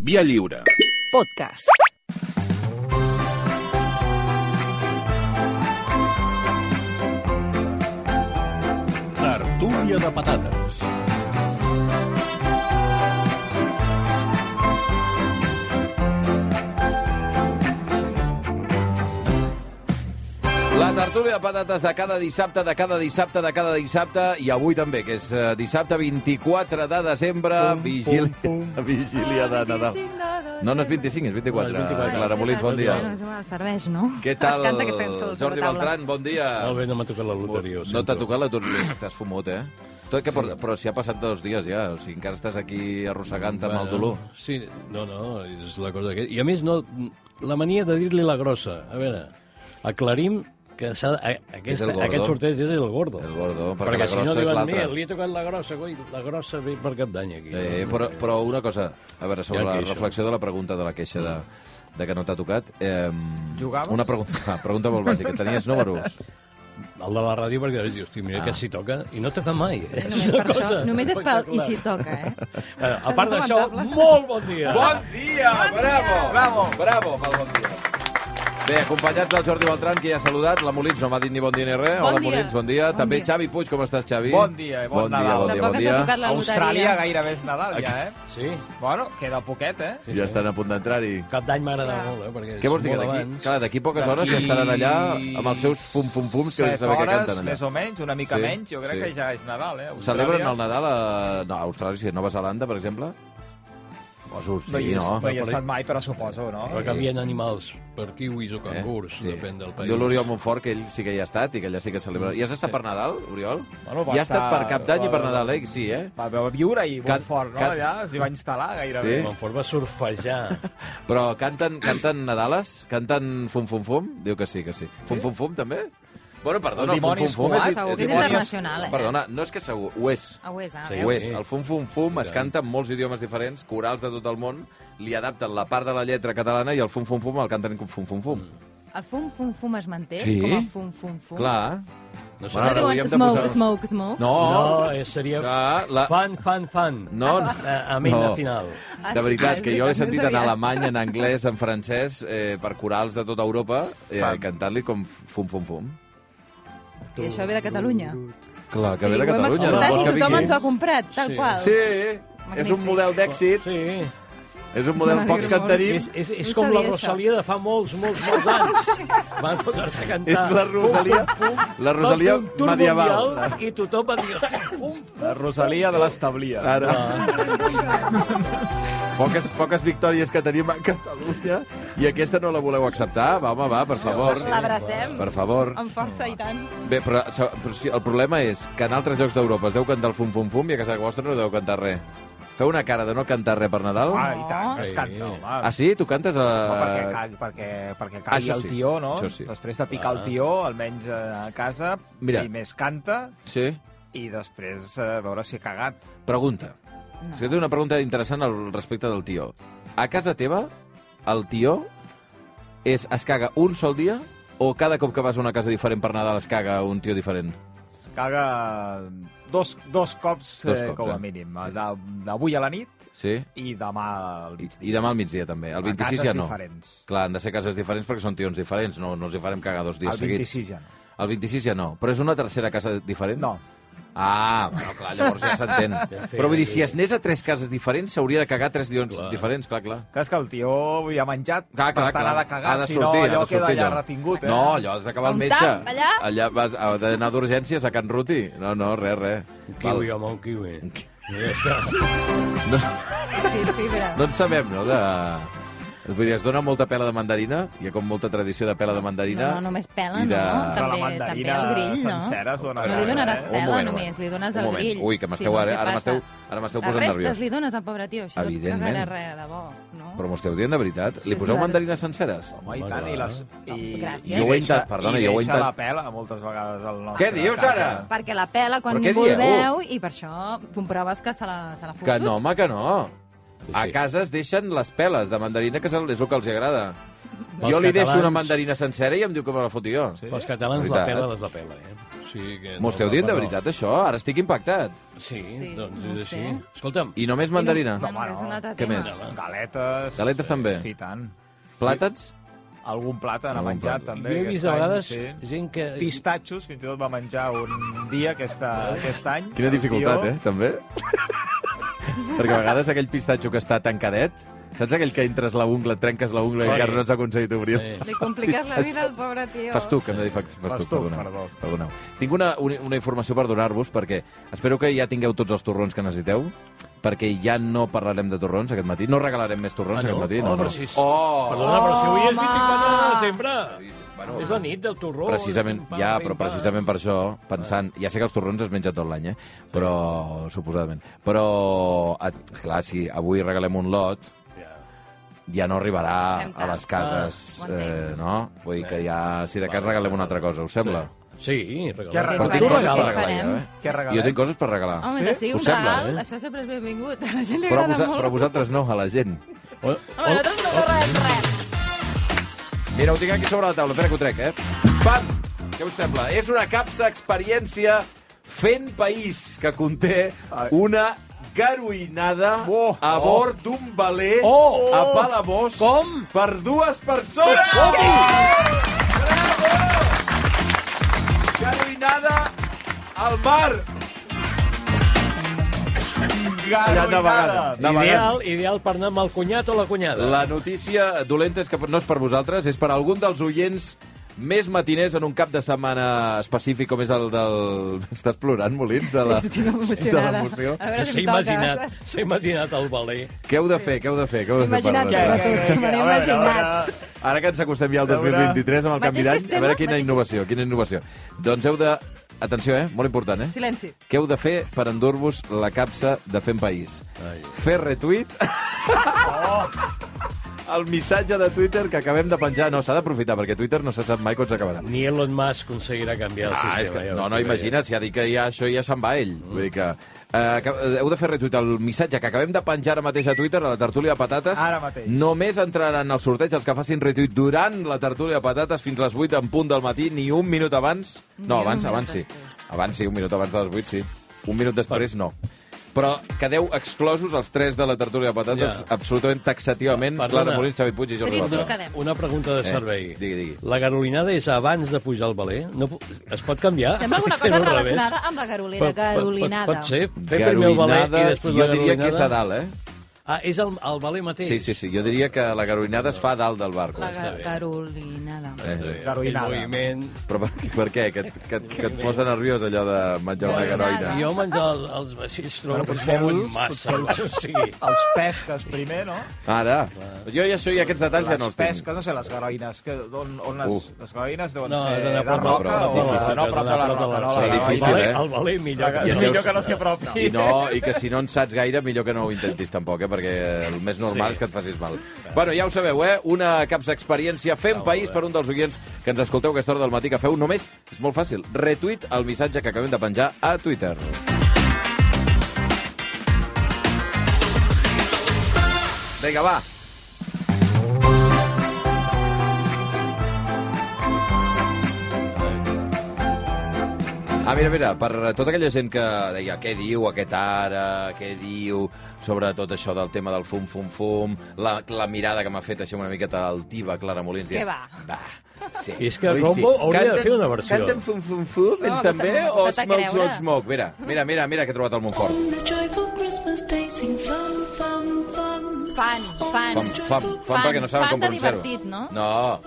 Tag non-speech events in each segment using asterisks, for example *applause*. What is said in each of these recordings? Via lliure. Podcast. Tertúlia de patates. La tertúlia de patates de cada dissabte, de cada dissabte, de cada dissabte, i avui també, que és eh, dissabte 24 de desembre, vigília, *laughs* vigília de Nadal. No, no és 25, és 24. No, és Ah, 24. Clara Molins, bon dia. Bueno, és igual, serveix, no? Què tal, Es canta que estem sols Jordi a la taula. Beltran? Bon dia. Molt bé, no m'ha tocat la loteria. ho No sento. t'ha tocat la tortura, t'has fumut, eh? Tot que porta, però si ha passat dos dies ja, o sigui, encara estàs aquí arrossegant amb el dolor. Sí, no, no, és la cosa que... I a més, no, la mania de dir-li la grossa. A veure, aclarim que s'ha... a- És el Aquesta, gordo. aquest sorteig és el gordo. El gordo, perquè perquè la si grossa no és diuen, l'altra. "Mira, li he tocat la grossa, coi, la grossa ve per cap d'any aquí. Eh, però, però una cosa, a veure, sobre Ja la queixo. reflexió de la pregunta de la queixa de, de que no t'ha tocat... Eh, Jugaves? Una pregunta, *laughs* ah, pregunta molt bàsica. Tenies números? El de la ràdio, perquè dius, hosti, Ah. mira que s'hi toca, i no toca mai. Només Sí, per això. Només és pel... I si toca, eh? A part d'això, molt bon dia! dia! Bravo! Bravo! Bravo pel bon dia! Bé, acompanyats del Jordi Beltran, que ja ha saludat. La Molins no m'ha dit ni bon dia ni res. Bon Hola, dia. Molins, bon dia. Bon També dia. Xavi Puig, com estàs, Xavi? Bon dia i bon bon dia, Nadal. bon dia, Tampoc bon has dia. tocat la A Austràlia loteria. gairebé és Nadal, ja, eh? Sí, Bueno, queda poquet, eh? sí, Ja sí. estan a punt d'entrar-hi. Cap d'any m'agrada molt, eh? Perquè Què vols és dir? Que molt d'aquí, abans. clar, d'aquí poques hores ja D'aquí estaran allà amb els seus fum-fum-fums, que no Set se saber què hores, canten allà. més o menys, una mica Sí, menys, jo crec sí. que ja és Nadal, eh? Celebren Austràlia. el Nadal a... No, a Austràlia, sí, a Nova Zelanda, per exemple? Poso, sí, No hi, he- no. no hi he estat mai, però suposo, no? Però canvien animals per kiwis o cangurs, Eh, Sí. depèn del país. Diu l'Oriol Montfort que ell sí que hi ha estat i que allà sí que celebra. I has estat per Nadal, Oriol? Bueno, va I has estat per estar- Cap d'Any i per va- Nadal, eh? Sí, eh? Va, va viure i Cat- molt fort, no? cat- Allà s'hi va instal·lar gairebé. Sí? Montfort va surfejar. Però canten, canten Nadales? Canten Fum Fum Fum? Diu que sí, que sí. Fum Fum Fum també? Bueno, perdona, El el Fum dimoni Fum Fum... escolar, és- segur que és dimoni- internacional, eh? Perdona, no és que segur, ho és. Ah, ho és, ara. Sí, Ho és. sí. El Fum Fum Fum es canta en molts idiomes diferents, corals de tot el món, li adapten la part de la lletra catalana i el Fum Fum Fum el canten com Fum Fum Fum. El fum, fum, fum es manté? Sí. Com el fum, fum, fum? Clar. No sé. No Bueno, ara diuen hauríem de smoke, posar-nos- smoke, smoke? No, No, eh, seria Ah, la- fan, fan, fan. Oh! Eh, no, no. A, a mi, No. no. final. Ah, De sí, veritat, és que jo l'he veritat, no sentit en sabia. alemany, en anglès, en francès, eh, per corals de tota Europa, eh, cantant-li com fum, fum, fum. I això ve de Catalunya. Clar, que Sí, ve de ho hem Catalunya. exportat no vols i que tothom vingui? ens ho ha comprat, tal Sí. qual. Sí, és Magnífic. un model d'èxit, Sí. és un model M'alegro pocs que en molt. tenim. És, és, és No com la sabia això. Rosalia de fa molts, molts, molts anys. Van posar-se a cantar. És la Rosalia- la Rosalia Van fer un tour medieval. mundial I tothom va dir, hosti, pum, pum. La Rosalia de l'establia. Ara. Poques, poques victòries que tenim a Catalunya i aquesta no la voleu acceptar? Va, home, va, per favor. L'abracem. Per favor. Amb força i tant. Bé, però, se- però sí, el problema és que en altres llocs d'Europa es deu cantar el fum fum fum i a casa vostra no deu cantar res. Feu una cara de no cantar res per Nadal? Ah, i tant, que es canta, home. Ah, sí? Tu cantes a... No, perquè, cagui, perquè, perquè cagui Això el sí, tió, no? això sí. Ah. Després de picar el tió, almenys eh, a casa, Mira. i més canta, Sí? i després eh, a veure si ha cagat. Pregunta. No. Si té una pregunta interessant al respecte del tió. A casa teva, el tió és, es caga un sol dia o cada cop que vas a una casa diferent per Nadal es caga un tio diferent? Es caga dos, dos cops, Dos eh, cops, com eh? a mínim. Eh, de- D'avui a la nit Sí? i demà al I, migdia. I demà al migdia també. El A 26 cases ja no. diferents. Clar, han de ser cases diferents perquè són tions diferents, no, no els hi farem cagar dos dies El seguits. 26 ja no. El 26 ja no. Però és una tercera casa diferent? No. Ah, bueno, clar, llavors ja s'entén. Però vull dir, si es anés a tres cases diferents, s'hauria de cagar tres dions clar. diferents, clar, clar. Clar, és que el tio ja ha menjat, Clar, clar, per tant clar. ha de cagar, ha de sortir, si no ha allò de sortir, queda allà allò. retingut, eh? No, allò has d'acabar al Un metge. tap, allà? Allà vas ha d'anar d'urgències a Can Ruti. No, no, res, res. Un Val. kiwi, home, un kiwi. Ja està. No, Sí, fibra. no en sabem, no, de... Vull dir, es dona molta pela de mandarina, hi ha com molta tradició de pela de mandarina. No, no, només pela, i de... no? Però la També- també mandarina el grill, no? sencera es dona No li grasa, donaràs eh? pela, Un moment, un només, moment. li dones Un el moment. grill. Ui, que m'esteu no, ara- què ara passa? m'esteu- ara m'esteu posant Les nerviós. restes li dones al pobre tio, això Evidentment. no et cagarà res de bo, no? Però m'ho esteu dient de veritat? Li poseu Clar. mandarines senceres? Home, i tant, i les... I, gràcies. i Jo ho he intent- deixa- perdona, i jo ho he deixa intent- la pela moltes vegades al nostre Què dius, casa. ara? Perquè la pela quan Però què ningú el dieu? veu i per això comproves que se la, se la fotut. Que no, home, que no. A casa es deixen les peles de mandarina, que és el és el que els agrada. Pels jo li deixo catalans- una mandarina sencera i em diu que me la foti jo. Pels catalans la Veritat. pela des la pela, eh? sigui que... M'ho esteu no, dient de no. veritat, això? Ara estic impactat. Sí, Sí, doncs no és ho així. sé. Escolta'm, I només mandarina? No, no, Home, és no. un altre Què tema. més? Galetes. Galetes també. Sí, i tant. Plàtans? Algun plàtan ha Algun menjat, plàtan. també. jo he aquest vist a any, vegades Sí. gent que... Pistatxos, fins i tot va menjar un dia aquesta, aquest any. Quina el dificultat, tio. eh, també. Perquè a vegades aquell pistatxo que està tancadet, saps aquell que entres la ungla, et trenques la ungla Sí. i encara no has aconseguit obrir? Sí. Li compliques la vida al pobre tio. Fas tu, que em dic fas, fas, Fas tu, tu, perdoneu. perdó. perdoneu. Tinc una, una, una informació per donar-vos, perquè espero que ja tingueu tots els torrons que necessiteu, perquè ja no parlarem de torrons aquest matí, no regalarem més torrons Ah, no? aquest matí. Oh, no, no. però si és- Oh! Perdona, però si avui és Home! 24 de desembre. Bueno, És la nit del torró. Precisament, pim, pam, ja, pim, però pam. precisament per això, pensant... Ja sé que els torrons es menja tot l'any, eh? Però, suposadament. Però, eh, clar, si avui regalem un lot, Ja. ja no arribarà Fem a les tard. cases, Ah, ho eh, entenc. no? Vull dir que ja, si de cas, Vale, regalem una vale. altra cosa, us sembla? Sí, Què regalat. Però regalarem? tinc Què coses per farem? regalar, jo, eh? Què regalem? Jo tinc coses per regalar. Home, sí? sigui Us un sembla, regal, eh? això sempre és benvingut. A la gent li Però, agrada vosa, molt. però vosaltres no, a la gent. Home, Home, nosaltres no regalem res. Mira, ho tinc aquí sobre la taula, espera que ho trec, eh? Pam! Què us sembla? És una capsa experiència fent país que conté Ai. una garoinada Oh! a bord d'un veler Oh! a Palamós Com? per dues persones. Com? Bravo! Garoinada al mar. Allà navegada. navegant. Ideal, ideal per anar amb el cunyat o la cunyada. La notícia dolenta és que no és per vosaltres, és per algun dels oients més matiners en un cap de setmana específic com és el del... *laughs* Estàs plorant, Molins? De la... Sí, estic de emocionada. l'emoció. A veure si S'ha em toca. imaginat, s'ha imaginat el valer. Què heu de fer? Què heu de fer? Què heu de fer per Imagina't, resoldre? sobretot. Ara que ens acostem ja al A veure. 2023 amb el canvi Mateix d'any, a sistema, veure quina mateix innovació, quina innovació. Doncs heu de... Atenció, eh? Molt important, eh? Silenci. Què heu de fer per endur-vos la capsa de Fem País? Ai. Fer retuit... Oh. el missatge de Twitter que acabem de penjar. No, s'ha d'aprofitar, perquè Twitter no se sap mai quan s'acabarà. Ni Elon Musk conseguirà canviar el Ah, és sistema. que, ja ho Mm. no, no, estic imagina't, si ha dit que ja, això ja se'n va ell. Vull dir que... Eh, que- eh, heu de fer retuit el missatge que acabem de penjar ara mateix a Twitter, a la tertúlia de patates. Ara mateix. Només entraran al sorteig els que facin retuit durant la tertúlia de patates fins les 8 en punt del matí, ni un minut abans. Ni No, un abans, minut abans sí. després. Abans sí, un minut abans de les 8, sí. Un minut després, no. Però quedeu exclosos els tres de la tertúlia de patates, Ja. absolutament taxativament, Perdona. Clara Molins, Xavi Puig i Jordi Tristos Rosa. quedem. Quedem. Una pregunta de Eh, servei. digui, digui. La garolinada és abans de pujar al valer? No, pu- es pot canviar? Sembla *laughs* alguna Fem-ho cosa al revés? relacionada amb la garolera, Pot- pot- garolinada. Pot, pot ser? Fer primer el valer Garolinada, i jo després la diria que és a garolinada? dalt, eh? Ah, és el, el valer mateix? Sí, sí, sí. Jo diria que la garoinada es fa a dalt del barco. La Eh, ga garolinada. Garolinada. Aquell moviment... Però per, per què? Que, et- que, et- que et posa nerviós allò de menjar una Garolinada. garoina. Jo menjar el- els vaixells trobo que es potser mouen els- massa. O sigui, Els pesques primer, no? Ara, jo ja això i aquests detalls ja Les no els tinc. pesques, no sé, les garoïnes, que, on, on les, Uh. les garoïnes deuen No, ser d'anar de a prop de la roca o roca, de, no, prop de la roca. Serà No, la el difícil, valer- eh? El valer millor que... I millor deus- que no s'hi apropi. I no, i que si no en saps gaire, millor que no ho intentis tampoc, eh? perquè el més normal Sí. és que et facis mal. Bueno, ja ho sabeu, eh? Una capsa experiència fent país per un dels oients que ens escolteu a aquesta hora del matí que feu. Només, és molt fàcil, retuit el missatge que acabem de penjar a Twitter. Vinga, va. Ah, mira, mira, per tota aquella gent que deia què diu aquest ara, què diu sobre tot això del tema del fum, fum, fum, la, la mirada que m'ha fet així una miqueta altiva Clara Molins. Què dient, va? Va, sí. I és que Rombo hauria de Canten- fer una versió. Canten fum, fum, fum, No, ells m'està- també, m'està o a smoke, creure. smoke, smoke. Mira, mira, mira, mira que he trobat al Montfort. On this joyful Christmas day, sing fun, fun, fun. Fan, fan. Fam, fam, fam, Fan- perquè no saben fan com de pronunciar-ho. divertit, no? No,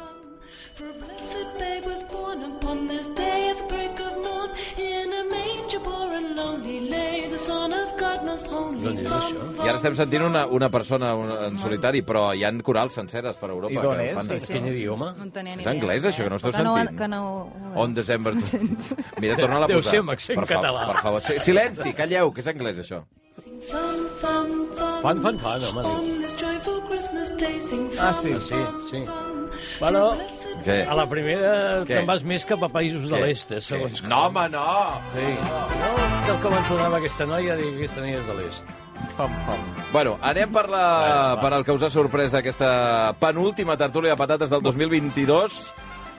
For a blessed babe was born upon this day at the break of dawn. In a manger poor and lonely lay the Son of God most holy. Fun, i ara estem sentint una, una persona una- en solitari, però hi han corals senceres per Europa. I d'on que és? fan Sí, això. sí. Quin idioma? No en tenia ni És idea. anglès, això, que no esteu que no, sentint. Que no... On December... Mira, torna la Deu posar. ser amb accent per fa- català. Per favor, Sí, silenci, calleu, que és anglès, això. fun, fun, fun. Fan, fan, fan, home. diu. On this joyful Christmas day, sing Ah, fun, sí. Sí, sí. Però Què? a la primera Què? te'n vas més cap a països de Què? l'est, eh, segons Què? No, home, no! Sí. No, tal com ens donava aquesta noia, dic, aquesta noia és de l'est. Fam, fam. Bueno, anem per, la, per al que us ha sorprès aquesta penúltima tertúlia de patates del 2022.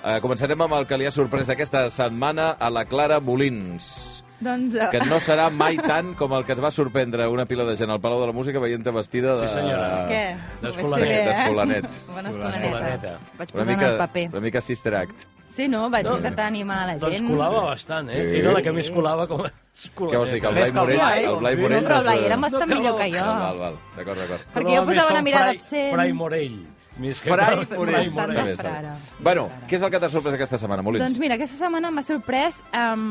Eh, començarem amb el que li ha sorprès aquesta setmana a la Clara Molins Doncs... eh, que no serà mai tant com el que ens va sorprendre una pila de gent al Palau de la Música veient-te vestida de... Sí, senyora. *laughs* Què? D'escolanet, Ho vaig fer bé, eh? d'escolanet. Bona escolaneta. Escolaneta. Una Vaig posar en mica, el paper. una mica sister act. Sí, no? Vaig eh? No. intentar animar la gent. Doncs colava bastant, eh? Sí. Era la que més colava com a escolaneta. Què vols dir, que el Més Blai que el Morell... Blai. El Blai Sí, Morell... No, però és, el Blai eh, era bastant No, millor que que jo. Val, val, val. D'acord, d'acord. Perquè jo Colava més posava que una el mirada Fray- absent. Fray Morell. Més que Fray Fray Morell. Bastant Està de Morell. bé, està bé. frare. Bueno, què és el que t'ha sorprès aquesta setmana, Molins? Doncs mira, aquesta setmana m'ha sorprès um,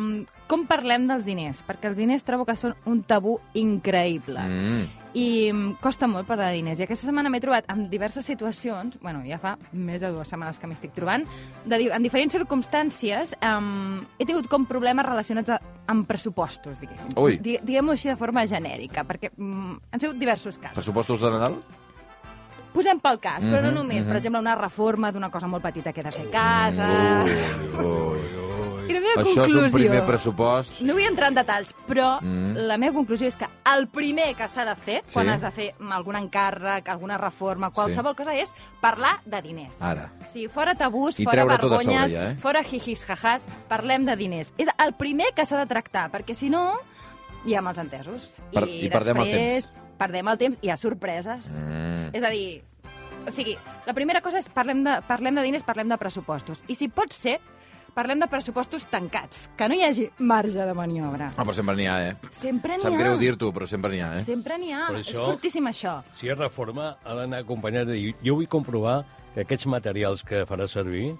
com parlem dels diners, perquè els diners trobo que són un tabú increïble. Mm. i em costa molt parlar de diners. I aquesta setmana m'he trobat amb diverses situacions, bueno, ja fa més de dues setmanes que m'estic trobant, de, di- en diferents circumstàncies um, he tingut com problemes relacionats a, amb pressupostos, diguéssim. Ui. Di- Diguem-ho així de forma genèrica, perquè mm, han sigut diversos casos. Pressupostos de Nadal? Posem pel cas, però no Mhm, només, per exemple, una reforma d'una cosa molt petita que he de fer a casa... Ui, ui. I la meva Això és conclusió... un primer pressupost. No vull entrar en detalls, però Mm. mm. la meva conclusió és que el primer que s'ha de fer, quan Sí. has de fer algun encàrrec, alguna reforma, qualsevol cosa, és parlar de diners. Ara. O sigui, fora tabús, I fora treure tot a sobre, vergonyes, ja, eh? fora jijis, jajàs, parlem de diners. És el primer que s'ha de tractar, perquè si no, hi ha mals entesos. Per- i perdem el després perdem el temps i hi ha sorpreses. Mm. És a dir, o sigui, la primera cosa és parlem de, parlem de diners, parlem de pressupostos. I si pot ser, parlem de pressupostos tancats, que no hi hagi marge de maniobra. No, però sempre n'hi ha, eh? Sempre n'hi ha. Sap greu dir-t'ho, però sempre n'hi ha, eh? Sempre n'hi ha. Per És això- fortíssim, això. Si és reforma, ha d'anar acompanyat de dir jo vull comprovar que aquests materials que farà servir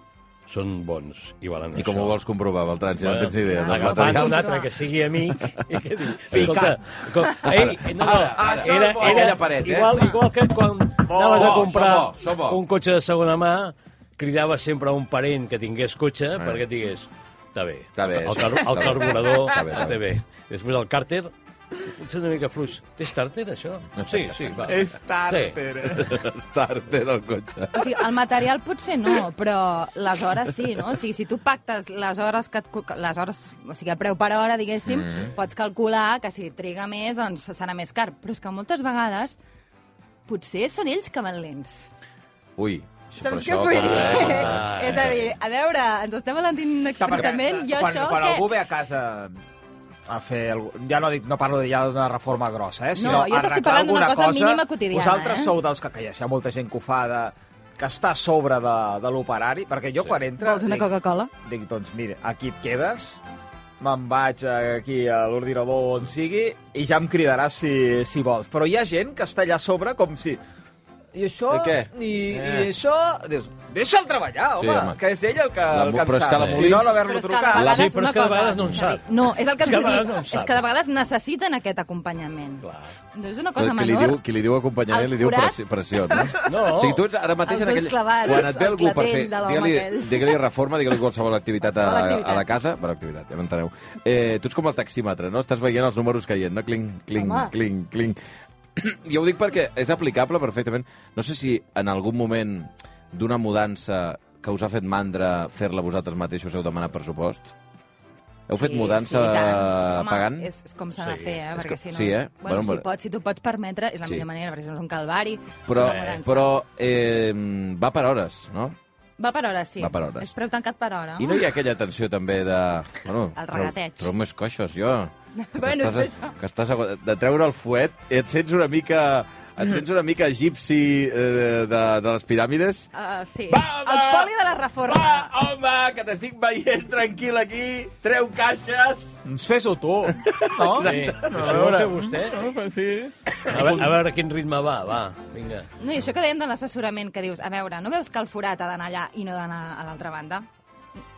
són bons i valen I com ho vols comprovar, Beltran, si no en tens ni idea dels Ah, Agafant un materials? altre que sigui amic i que digui... Escolta, com, ei, no, no, Ara, ara, era, Ah, això és bo. era Aquella paret, eh? igual, igual que quan Bo, anaves a bo, comprar això bo, això bo. un cotxe de segona mà, cridaves sempre a un parent que tingués cotxe perquè et digués, està bé, Eh. Està bé, el, sí, car està el bé. carburador Està està bé, bé, està bé. Després el càrter, potser una mica fluix. És tàrter, això? Sí, sí, va. És tard, Sí. Pere. *laughs* Starter al cotxe. O sigui, el material potser no, però les hores sí, no? O sigui, si tu pactes les hores que et, co- les hores, o sigui, el preu per hora, diguéssim, mm. pots calcular que si triga més, doncs serà més car. Però és que moltes vegades potser són ells que van lents. Ui, però Saps què això, Ah, vull clar, dir? clar. *laughs* És a dir, a veure, ens estem alentint expressament, jo quan, això... quan que... algú ve a casa a fer... algú- Ja no, dic, no parlo ja d'una reforma grossa, eh? Sinó No, jo t'estic arreglar parlant d'una alguna cosa mínima quotidiana, Vosaltres eh? sou dels que, que hi ha, hi ha molta gent que ho fa de, que està a sobre de, de l'operari, perquè jo sí. quan entro... Vols una dic- Coca-Cola? Dic, doncs mira, aquí et quedes, me'n vaig aquí a l'ordinador on sigui i ja em cridaràs si, si vols. Però hi ha gent que està allà a sobre com si... I això... I què? I, Eh. i això... Dius, deixa'l treballar, Sí, home, home. que és ell el que, La- el que en però és sap. que la si Molins- no, Però l'haver-lo és que de trucat... La- vegades Sí, però és una que de cosa- vegades no en sap. No, és el que És et que de vull dir. vegades no en és sap. que de vegades necessiten aquest acompanyament. Clar. No és una cosa Però qui li menor. diu, qui li diu acompanyament El li diu forat. pressi- pressió, no? No. O sigui, tu ets ara mateix Els en aquell... ulls clavats quan et ve al algú per fer... clatell de l'home Digue-li aquell. digue reforma, digue-li qualsevol activitat a, Qualsevol a la activitat. casa. Bueno, activitat, ja m'enteneu. Eh, tu ets com el taxímetre, no? Estàs veient els números caient, no? Cling, cling, Home. cling, cling. *clears throat* Jo ho dic perquè és aplicable perfectament. No sé si en algun moment d'una mudança que us ha fet mandra fer-la vosaltres mateixos heu demanat pressupost? Heu fet Sí, mudança sí, i tant. Home, pagant? És, és com s'ha de Sí. fer, eh? És Perquè que- si no... sí, eh? Bueno, Bueno, bueno. si pots, si tu pots permetre, és la Sí. millor manera, perquè si no és un calvari. Però, una mudança. però eh, va per hores, no? Va per hora, sí. Va per hores. És preu tancat per hora. I no hi ha aquella tensió també de... Bueno, Ah. El regateig. Treu, treu més coixos, jo. *laughs* Bueno, que estàs, és això. Que estàs, agu- de treure el fuet, et sents una mica... Mm. Et sents una mica egipci eh, de, de les piràmides? Uh, sí. Va, va! el poli de la reforma. Va, home, que t'estic veient tranquil aquí, treu caixes... Doncs fes-ho tu, *laughs* no? Sí, això ho té vostè. A veure, a veure quin ritme va, va, vinga. No, i això que dèiem de l'assessorament, que dius, a veure, no veus que el forat ha d'anar allà i no d'anar a l'altra banda?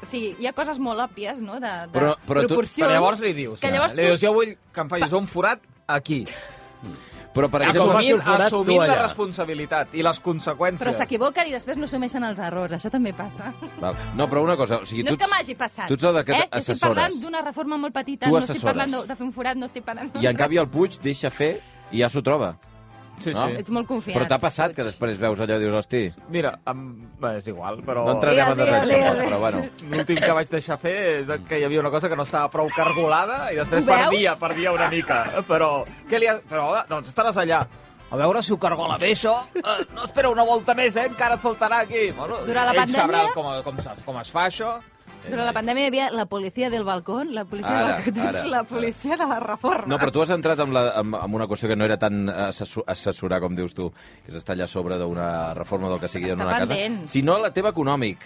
O sigui, hi ha coses molt òbvies, no?, de, de Però- però tu- proporcions... Però llavors li dius, Que llavors li tu- dius jo vull que em facis un forat aquí. Però, per com exemple... faci Assumint, el forat, tu assumint la allà. responsabilitat i les conseqüències. Però s'equivoquen i després no assumeixen els errors, això també passa. Val. No, però una cosa... O sigui, No és tu, que ets- m'hagi passat. Tu ets el de que eh? Jo estic assessores. parlant d'una reforma molt petita, Tu no assessores. estic parlant de, de fer un forat, no estic parlant... I en canvi el Puig deixa fer i ja s'ho troba. Sí, No? sí. Ets molt confiat. Però t'ha passat que després veus allò i dius, hosti, Mira, em... bé, és igual, però... no entrarem en Digues, digues, detalls, tampoc, digues. però bueno... L'últim que vaig deixar fer és que hi havia una cosa que no estava prou cargolada i després Ho veus? perdia, perdia una mica. Però, què li ha... però doncs estaràs allà. A veure si ho cargola bé, això. Eh, no, espera una volta més, eh? Encara et faltarà aquí. Bueno, Durant la ell sabrà pandèmia- com, com, es- com es fa, això. Durant la pandèmia hi havia la policia del balcó, la policia Ara, del balcó, tu ets ara, la ara. policia de la reforma. No, però tu has entrat amb, la, amb, amb una qüestió que no era tan assessor, assessorar, com dius tu, que és estar allà a sobre d'una reforma del que sigui en Està una pendent. casa, sinó la teva econòmic.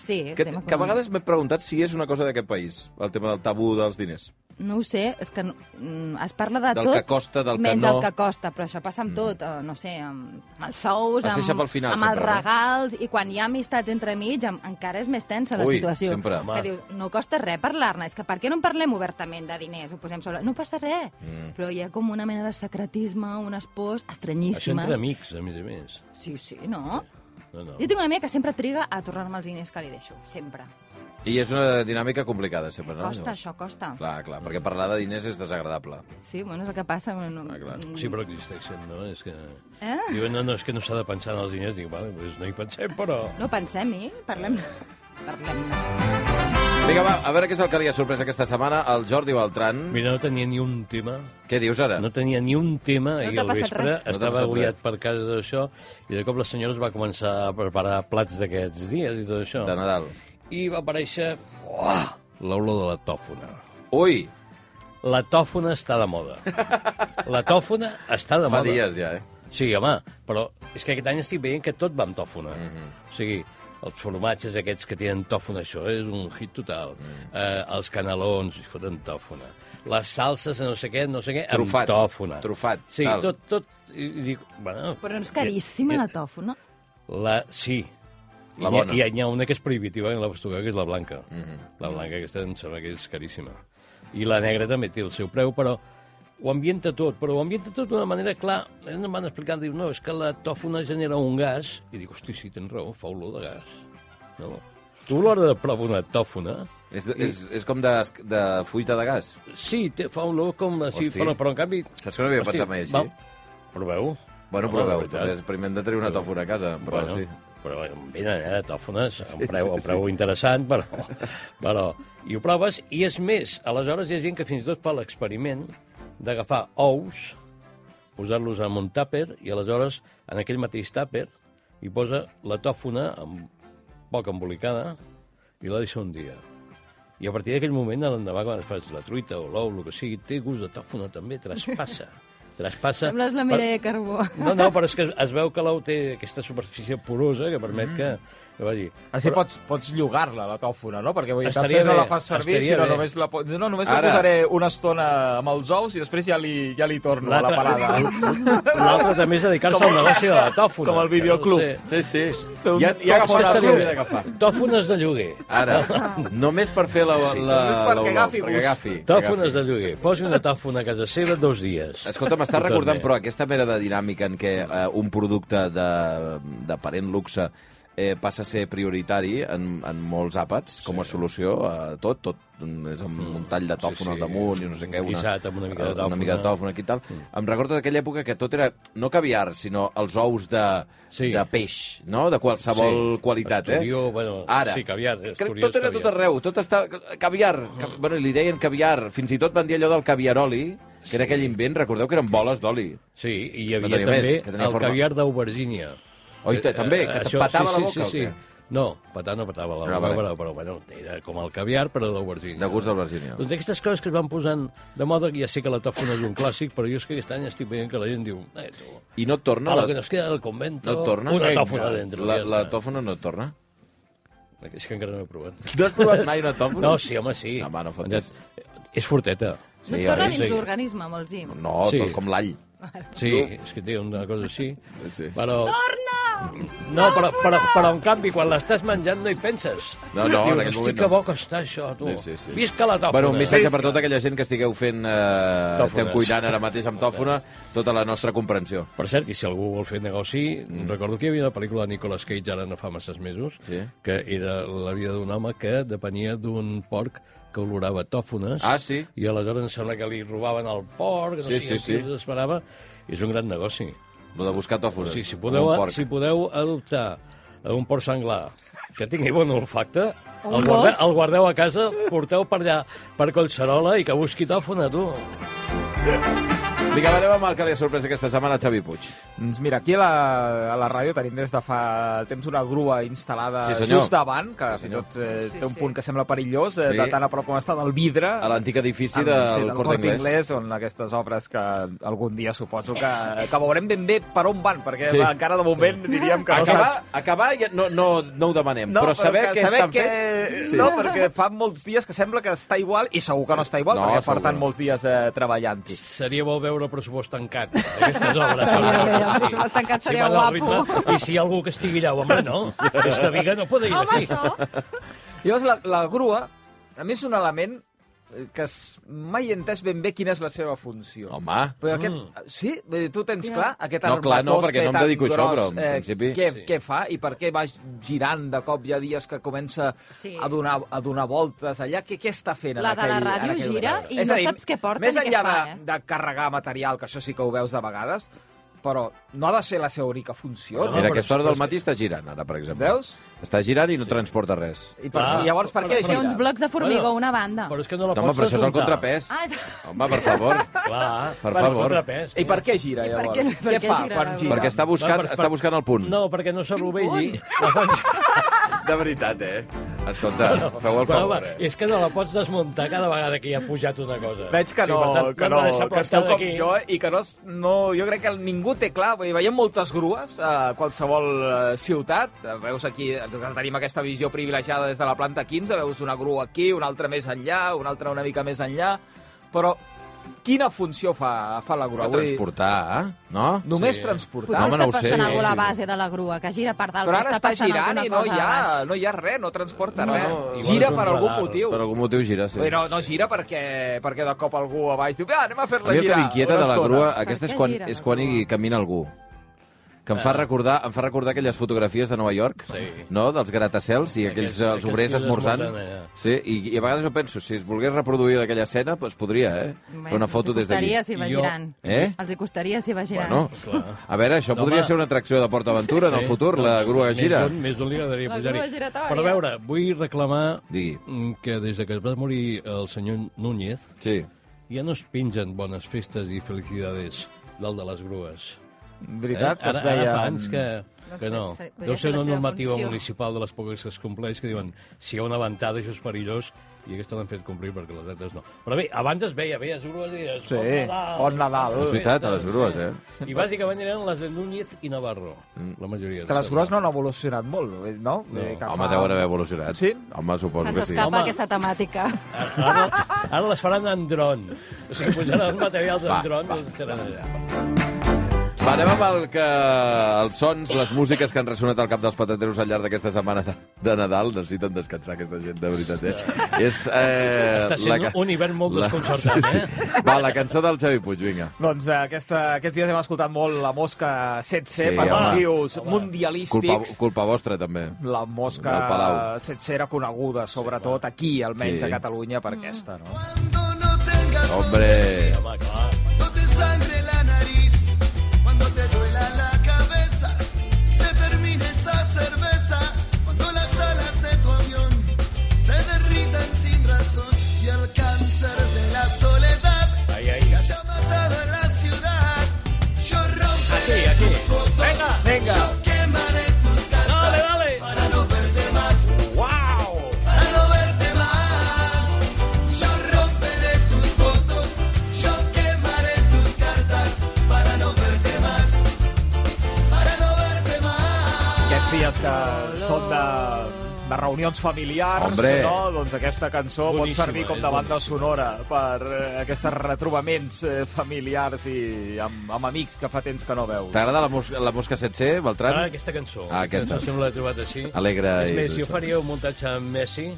Sí, Que, tema que a vegades m'he preguntat si és una cosa d'aquest país, el tema del tabú dels diners. No ho sé, és que no- mm, es parla de Del tot... que costa, del que menys no. Mm. el que costa, però això passa amb tot, eh, no sé, amb, amb els sous, Es deixa amb, pel final, amb els sempre, no? regals, i quan hi ha amistats entre mig, em, encara és més tensa la Ui, situació. sempre. Que dius, no costa res parlar-ne, és que per què no en parlem obertament de diners? Ho posem sobre... No passa res, mm. però hi ha com una mena de secretisme, unes pors Això estranyíssimes. entre amics, a més a més. Sí, sí, no? No, no. Jo tinc una amiga que sempre triga a tornar-me els diners que li deixo, sempre. I és una dinàmica complicada, sempre, Ah, no? Costa, això costa. Clar, clar, perquè parlar de diners és desagradable. Sí, bueno, és el que passa. bueno, No, Ah, clar. Sí, però existeixen, no? És que... Eh? Diuen, no, no, és que no s'ha de pensar en els diners. Dic, vale, pues no hi pensem, però... no pensem-hi, parlem-ne. Parlem-ne. Vinga, va, a veure què és el que li ha sorprès aquesta setmana al Jordi Beltran. Mira, no tenia ni un tema. Què dius ara? No tenia ni un tema No ahir t'ha al passat vespre. res? t'ha Estava passat agobiat res. per casa d'això i de cop la senyora es va començar a preparar plats d'aquests dies i tot això. De Nadal. I va aparèixer uah, l'olor de la tòfona. Ui, La tòfona està de moda. La tòfona està de fa moda. dies ja, eh? Sí, home, però és que aquest any estic veient que tot va amb tòfona. Mm Mhm. -hmm. O sigui, els formatges aquests que tenen tòfona, això és un hit total. Mhm. Mm. Eh, els canelons, hi foten tòfona. Les salses, no sé què, no sé què, Trufat, amb tòfona. trufat, Sí, tal. tot, tot... I, i dic, bueno, Però és caríssima la tòfona. la, sí. La I n'hi ha- bona. Mhm. I hi ha una que és prohibitiva en la pastuga, que és la blanca. Mm -hmm. La blanca aquesta em sembla que és caríssima. I la negra també té el seu preu, però ho ambienta tot, però ho ambienta tot d'una manera, clar, ells em van explicant, diu, no, és que la tòfona genera un gas, i dic, hosti, sí, tens raó, fa olor de gas. No? Tu a l'hora de provar una tòfona, És, és, és com de, de fuita de gas. sí, té, fa olor com així, Hosti. però, però en canvi... Saps que no havia pensat mai així? va, Proveu. Bueno, Home, la proveu, veritat. també és- primer hem de treure una tòfona a casa, però bueno, sí. Però ben allà de tòfones, un preu, un preu interessant, però, *laughs* però... I ho proves, i és més, aleshores hi ha gent que fins i tot fa l'experiment d'agafar ous, posar-los en un tàper, i aleshores en aquell mateix tàper hi posa la tòfona amb poc embolicada i la deixa un dia. I a partir d'aquell moment, a l'endemà, quan fas la truita o l'ou, el que sigui, té gust de tòfona també, traspassa. *laughs* traspassa Sembles la Per- Mireia Carbó. no, no, però és que es veu que l'ou té aquesta superfície porosa que Mm. permet que, que vagi... Així Però, pots, pots llogar-la, la tòfona, no? Perquè vull dir, Estaria potser no bé, la fas servir, estaria sinó bé. només la... po- No, només Ara. la posaré una estona amb els ous i després ja li, ja li torno a la L'altre- *laughs* parada. L'altre també és dedicar-se al negoci de la tòfona. com el que no videoclub. Sí, sé. sí. Fer un Ja, ja tòfon agafat el al que club. havia d'agafar. Tòfones de lloguer. Ara, només per fer la... la Només perquè l'olor, agafi perquè gust. agafi, que Tòfones de agafi. lloguer. Posi una tòfona a casa seva dos dies. Escolta, m'està Totalment. recordant, però, aquesta mera de dinàmica en què eh, un producte de- d'aparent luxe eh, passa a ser prioritari en, en molts àpats com a solució a tot, tot mm, és amb un tall de tòfon sí, al sí. damunt i no sé què, eh, Un guisat amb una mica de eh? Mm. una mica de tòfona. tòfon aquí i tal. Em recordo d'aquella època que tot era, no caviar, sinó els ous de, Sí. de peix, no? De qualsevol Sí. qualitat, Esturió, eh? bueno, Ara, sí, caviar, crec que esturió tot és era tot caviar. arreu, tot està... Caviar, ca... Mm. bueno, i li deien caviar, fins i tot van dir allò del caviaroli, que era aquell invent, recordeu que eren boles d'oli. Sí, i hi havia tenia també més, que tenia el forma. caviar d'aubergínia. Oi, te- Eh, també, que eh, te això, patava sí, la boca, Sí, o sí, què? sí. No, patar no patava la Ah, boca, vale. però, però bueno, era com el caviar, però d'aubergínia. De gust d'albergínia. Doncs aquestes coses que es van posant de moda, ja sé que la tòfona és un clàssic, però jo és que aquest any estic veient que la gent diu... Eh, tu, I no et torna? a lo la- que nos queda del convento, No et torna? una Vinga. tòfona dentro. La, ja la està. tòfona no et torna? És que encara no he provat. No has provat mai una tòfona? No, sí, home, sí. Home, no fotis. És forteta. No Sí, et ara torna dins sí. l'organisme, vols dir. No, Sí. tot és com l'all. Sí, és que té una cosa així. Sí. Però... Torna! No, però, però, però en canvi, quan l'estàs menjant no hi penses. No, no, en Dius, aquell hosti, moment que no." bo que està això, tu. Sí, sí, sí. Visca la tòfona. Bueno, un missatge per tota aquella gent que estigueu fent... Eh, Tòfones. esteu cuinant ara mateix amb tòfona, tota la nostra comprensió. Per cert, i si algú vol fer negoci, mm. recordo que hi havia una pel·lícula de Nicolas Cage ara no fa masses mesos, Sí. que era la vida d'un home que depenia d'un porc que olorava tòfones. Ah, sí? I aleshores em sembla que li robaven el porc, no Sí, sé, sí, el sí. tio s'esperava. I és un gran negoci. Lo de buscar tòfones. Sí, si amb podeu, eh, un porc. si podeu adoptar a un porc senglar que tingui bon olfacte, Un el guardeu, gos. el guardeu a casa, porteu per allà, per Collserola, i que busqui tòfona, tu. Vinga, va, anem amb el que li ha sorprès aquesta setmana a Xavi Puig. Doncs mira, aquí a la, a la ràdio tenim des de fa temps una grua instal·lada Sí, senyor. just davant, que Sí, fins i senyor. tot eh, Sí, té un sí. punt que sembla perillós, eh, Sí. de tant a prop com està del vidre. A l'antic edifici Amb- del del Corte Inglés. Inglés, on aquestes obres que algun dia suposo que, que veurem ben bé per on van, perquè Sí. sí. encara de moment diríem que no Acabar, saps. acabar ja no, no, no ho demanem, però saber que- què saber estan que... fent... Sí. No, perquè fa molts dies que sembla que està igual, i segur que no està igual, No, no, segur perquè que porten no. molts dies eh, treballant-hi. Seria bo veure el pressupost tancat, aquestes obres. Estaria bé, el Sí. pressupost tancat seria van al guapo. ritme, I si hi ha algú que estigui allà, home, no. Aquesta viga no pot ir Home, aquí. això... Llavors, la, la grua, a més, és un element eh, que es- mai he entès ben bé quina és la seva funció. Home, Però aquest, mm. Sí? Vull dir, Tu tens Ja. clar aquest No, clar, no, armatós perquè que no em tan dedico a això, gros, eh, però en principi- Què, Sí. sí. què fa i per què va girant de cop? Hi ha dies que comença sí. Sí. a, donar, a donar voltes allà. Què, què està fent? en La de la aquell- en ràdio aquell gira moment? i no saps què porta Més ni què enllà fa, de, eh? de carregar material, que això sí que ho veus de vegades, però no ha de ser la seva única funció. No, mira, però a aquesta hora del és- matí està girant, ara, per exemple. Veus? Està girant i no transporta res. I per, Clar. llavors, per què Té gira? uns blocs de formigó a Bueno, una banda. Però és que no la No, home, pots però això és el desmuntar. contrapès. Ah, és... Home, per favor. Clar, Per és el favor. contrapès, I per què gira, I per llavors? què- per què fa gira quan la gira? Perquè està buscant, per- per- està buscant el punt. No, perquè no s'arrovelli. De veritat, eh? Escolta, feu el Però, favor, home, eh? És que no la pots desmuntar cada vegada que hi ha pujat una cosa. Veig que Sí, no, per tant, que l'hem de no, deixar que esteu plantada com aquí. jo eh? i que no, es- no... Jo crec que ningú té clar. Vull dir, veiem moltes grues a qualsevol eh, ciutat. Eh, Veus aquí, nosaltres tenim aquesta visió privilegiada des de la planta 15, veus una grua aquí, una altra més enllà, una altra una mica més enllà, però quina funció fa, fa la Va grua? Vull dir, transportar, eh? No? Només Sí. transportar. Potser home, està no ho sé, passant no ho algú a la sé. base de la grua, que gira per dalt, Però ara que està està passant girant alguna i no cosa hi, a ha, baix. no hi ha res, no transporta No, res. no, igual gira és un per algun radar, motiu. Per algun motiu gira, sí. Vull dir, No, no gira perquè, perquè de cop algú a baix diu "Va, anem a A fer-la mi el que girar. m'inquieta una de la estona." grua, aquesta és què quan, gira és la quan grua? hi camina algú. Que em fa, recordar, em fa recordar aquelles fotografies de Nova York, Eh. Sí. no? dels gratacels i aquells, Aquells- els obrers aquells que esmorzant. esmorzen allà. Sí, i, I a vegades jo penso, si es volgués reproduir aquella escena, doncs podria, eh? Fer una foto des d'aquí. Els hi costaria si va I jo- girant. Eh? Els hi costaria si va girant. Bueno, a veure, això No, podria home. ser una atracció de PortAventura sí. en el Sí. Doncs futur, la grua que gira. Més d'un, més d'un li agradaria La grua pujar-hi. giratòria. Però a veure, vull reclamar Digui. mm, que des de que es va morir el senyor Núñez Sí. ja no es pengen bones festes i felicidades dalt de les grues. Veritat, que Eh, Ara, es veia... ara fa anys que, que no. sé, podria Deu ser ser la una seva normativa funció. municipal de les poques que es compleix que diuen si hi ha una ventada això és perillós i aquesta l'han fet complir perquè les altres no. Però bé, abans es veia, veies grues i deies... Sí, bon Nadal! bon Nadal. És veritat, a les grues, eh? Mm. I bàsicament eren les de Núñez i Navarro, la majoria. Que les grues no han evolucionat molt, no? no. Home, deuen haver evolucionat. Sí? Home, suposo Se'ns doncs que sí. escapa Home. aquesta temàtica. Ara, ara les faran en dron. O sigui, posaran els materials en dron i seran allà. Va, anem amb el que... els sons, les músiques que han ressonat al cap dels patateros al llarg d'aquesta setmana de, de Nadal. Necessiten descansar aquesta gent, de veritat. Eh? És, eh, Està sent ca- un hivern molt desconcertant, eh? Va, la cançó del Xavi Puig, vinga. Doncs eh, aquesta, aquests dies hem escoltat molt la mosca 7C Sí, sí, per home. motius Home. Culpa, mundialístics. culpa vostra, també. La mosca Del Palau. 7C era coneguda, sobretot aquí, almenys Sí. a Catalunya, per aquesta, no? Cuando no tengas Hombre, Home, clar. no te sangre la nariz, cuando te duela la cabeza, se termine esa cerveza, cuando las alas de tu avión se derritan sin razón y el cáncer de la soledad Ai, ai. que haya matado a la ciudad, yo romperé Aquí, aquí. tus fotos, Venga. Vinga! yo quemaré tus Dale, cartas dale. para no verte más. Uau! Para no verte más, yo romperé tus fotos, yo quemaré tus cartas, para no verte más, para no verte más. Aquests dies que són de, de reunions familiars, Hombre. no? doncs aquesta cançó pot Boníssima, servir com és de banda boníssima. sonora per eh, aquests retrobaments eh, familiars i amb, amb amics que fa temps que no veus. t'agrada la, mosca, la mosca 7C, Ara Beltran? aquesta cançó. Ah, aquesta. cançó sempre l'he trobat així. Alegre És i més, jo trista. faria un muntatge amb Messi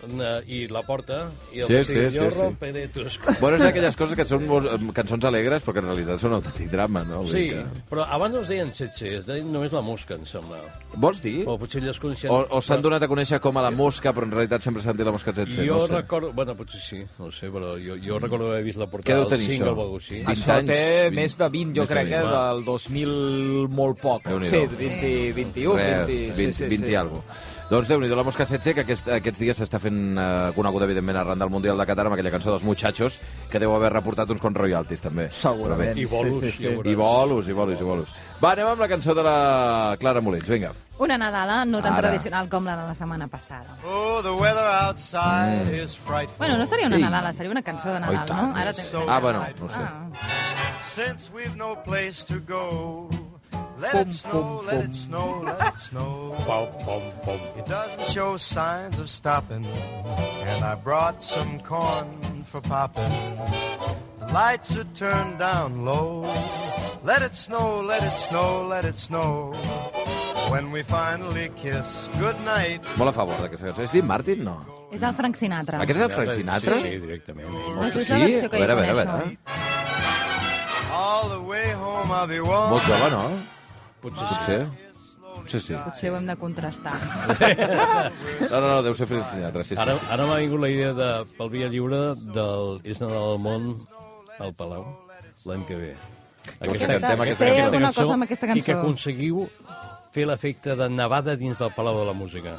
eh, i la porta i el Sí, sí, sí, sí, jo sí. romperé tus... Bueno, és d'aquelles coses que són mos- eh, cançons alegres, però que en realitat són autèntic drama, no? Vull Sí, dir que- però abans no es deien Txetxe, es deien només la mosca, em sembla. Vols dir? O potser elles coneixien... O, o s'han donat a conèixer com a la mosca, però en realitat sempre s'han dit la mosca 7C, no Jo ho sé. recordo... Bueno, potser sí, no ho sé, però jo, jo recordo haver vist la Què portada deu del tenir això? Ah, single o alguna cosa així. 20 Això anys, té 20, més de 20, jo més de crec, 20, eh, va. del 2000 molt poc. Sí, Déu-n'hi-do. 20, 21, 20... Res, 20, 20 i algo. Doncs déu nhi la mosca 7C, que aquest, aquests dies s'està fent fent eh, coneguda, evidentment, arran del Mundial de Qatar amb aquella cançó dels Muchachos, que deu haver reportat uns quants royalties, també. Segurament. I bolos, Sí, sí, sí. ja veuràs. I bolos, i bolos, i bolos. Va, anem amb la cançó de la Clara Molins, vinga. Una Nadala no tan Ara. tradicional com la de la setmana passada. Oh, the weather outside is frightful. Bueno, no seria una Ei. Nadala, seria una cançó de Nadal, Mm. tant, no? Ara és. tens- Ah, bueno, no ho sé. Since we've no place to go, let it snow, let it snow, let it snow. Pom, pom, pom. It doesn't show signs of stopping, and I brought some corn for popping. Lights are turned down low. Let it snow, let it snow, let it snow. When we finally kiss goodnight, Molt a favor d'aquesta cançó. És Dean Martin, no? És el Frank Sinatra. Aquest és el Frank Sinatra? Sí, sí, directament. No Doncs és Sí? la versió que A veure, jo a veure, a coneixo. veure. all the way home I'll be warm. Molt jove, no? Potser. Potser. Potser sí. Potser ho hem de contrastar. No, no, no, deu ser Frank Sinatra, sí, sí. Ara, ara m'ha vingut la idea de, pel Via Lliure del És Nadal al món al Palau l'any que ve. cantem aquesta Fer cançó. alguna cosa amb aquesta I que cançó. aconseguiu fer l'efecte de nevada dins del Palau de la Música.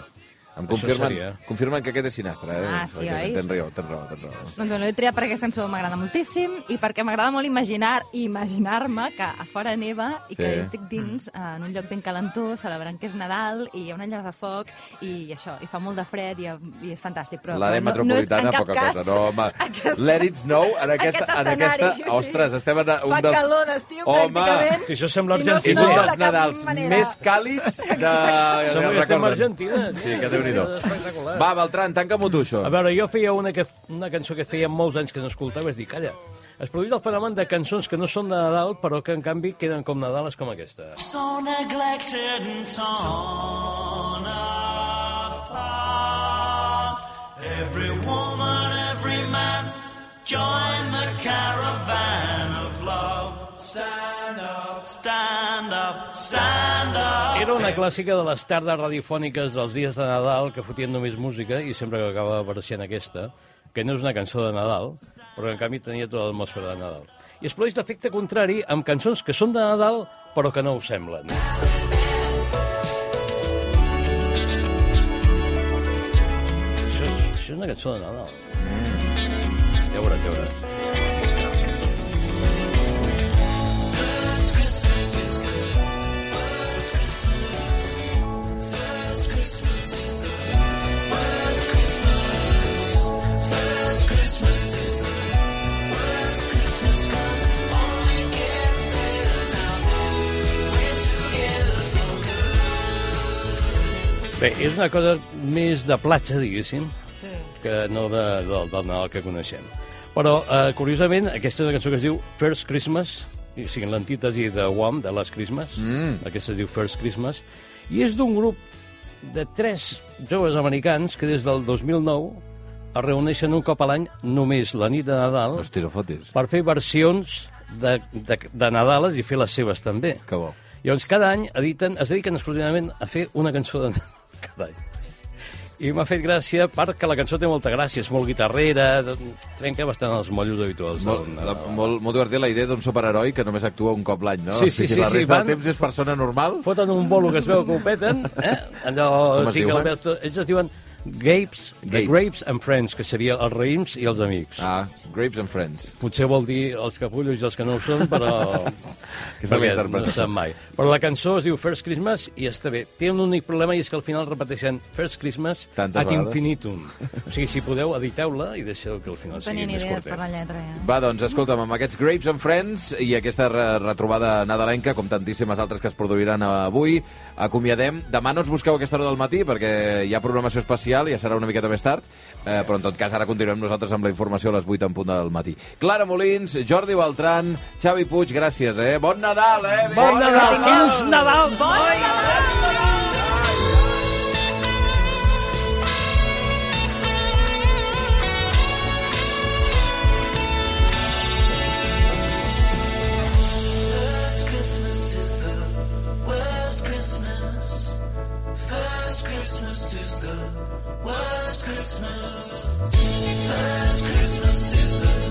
Em Això confirmen, seria. confirmen que aquest és Sinastre, eh? Ah, sí, oi? Tens raó, tens raó, tens raó. Doncs bueno, l'he triat perquè aquesta cançó m'agrada moltíssim i perquè m'agrada molt imaginar imaginar-me que a fora neva i que Sí. Mm. jo estic dins, eh, en un lloc ben calentó, celebrant que és Nadal i hi ha una llar de foc i això, i fa molt de fred i, i és fantàstic. Però L'àrea no, no és en metropolitana, cap poca cas, cosa. No, home, *laughs* Aquesta... let it snow en aquesta... aquest en aquesta escenari, sí. Ostres, estem en un Fa dels... calor d'estiu, Home, pràcticament. si això i no sembla Argentina. És snow un de dels cap Nadals manera. més càlids de... Sembla que estem a recorden. Argentina. Sí, que Déu-n'hi-do. Espectacular. Va, Beltran, tanca-m'ho tu, això. A veure, jo feia una, que, una cançó que feia molts anys que no escoltava, és dir, calla, es produeix el fenomen de cançons que no són de Nadal, però que en canvi queden com Nadales com aquesta. So neglected and torn apart. Every woman, every man, join the caravan of love. Stand up, stand up, stand up. Era una clàssica de les tardes radiofòniques dels dies de Nadal que fotien només música i sempre que acaba apareixent aquesta, que no és una cançó de Nadal, però que en canvi tenia tota l'atmosfera de Nadal. I es produeix l'efecte contrari amb cançons que són de Nadal però que no ho semblen. Això és, això és una cançó de Nadal. Ja ho veuràs, ja ho veuràs. Bé, és una cosa més de platja, diguéssim, sí. que no de, del, del Nadal que coneixem. Però, eh, curiosament, aquesta és una cançó que es diu First Christmas, o sigui, l'antítesi de Wham, de Last Christmas, mm. aquesta es diu First Christmas, i és d'un grup de tres joves americans que des del 2009 es reuneixen un cop a l'any, només la nit de Nadal, Hosti, no fotis. per fer versions de, de, de Nadales i fer les seves també. Que bo. Llavors, cada any editen, es dediquen exclusivament a fer una cançó de... *laughs* cada any. I m'ha fet gràcia perquè la cançó té molta gràcia, és molt guitarrera, trenca bastant els mollos habituals. Molt, del la, Nadal. molt, molt divertit la idea d'un superheroi que només actua un cop l'any, no? Sí, sí, O sigui, sí, La sí, resta van- del temps és persona normal? Foten un bolo que es veu que ho peten, eh? allò... Com es sí, que diuen? la veus- ells es diuen Grapes, The Grapes. Grapes and Friends, que seria els raïms i els amics. Ah, Grapes and Friends. Potser vol dir els capullos i els que no ho són, *laughs* però... Aquesta perquè la interpretació. no es sap mai. Però la cançó es diu First Christmas i està bé. Té un únic problema i és que al final repeteixen First Christmas Tantes ad vegades. infinitum. O sigui, si podeu, editeu-la i deixeu que al final No sigui tenia ni més idees per la curtet. lletra, ja. Va, doncs, escolta'm, amb aquests Grapes and Friends i aquesta re- retrobada nadalenca, com tantíssimes altres que es produiran avui, acomiadem. Demà no ens busqueu a aquesta hora del matí, perquè hi ha programació especial, ja serà una miqueta més tard, eh, però en tot cas ara continuem nosaltres amb la informació a les 8 en punt del matí. Clara Molins, Jordi Beltran, Xavi Puig, gràcies, eh? Bon Nadal, eh? Bon Nadal! Quins Nadal! Bon Nadal! First Christmas is the worst Christmas. First Christmas is the worst Christmas. First Christmas is the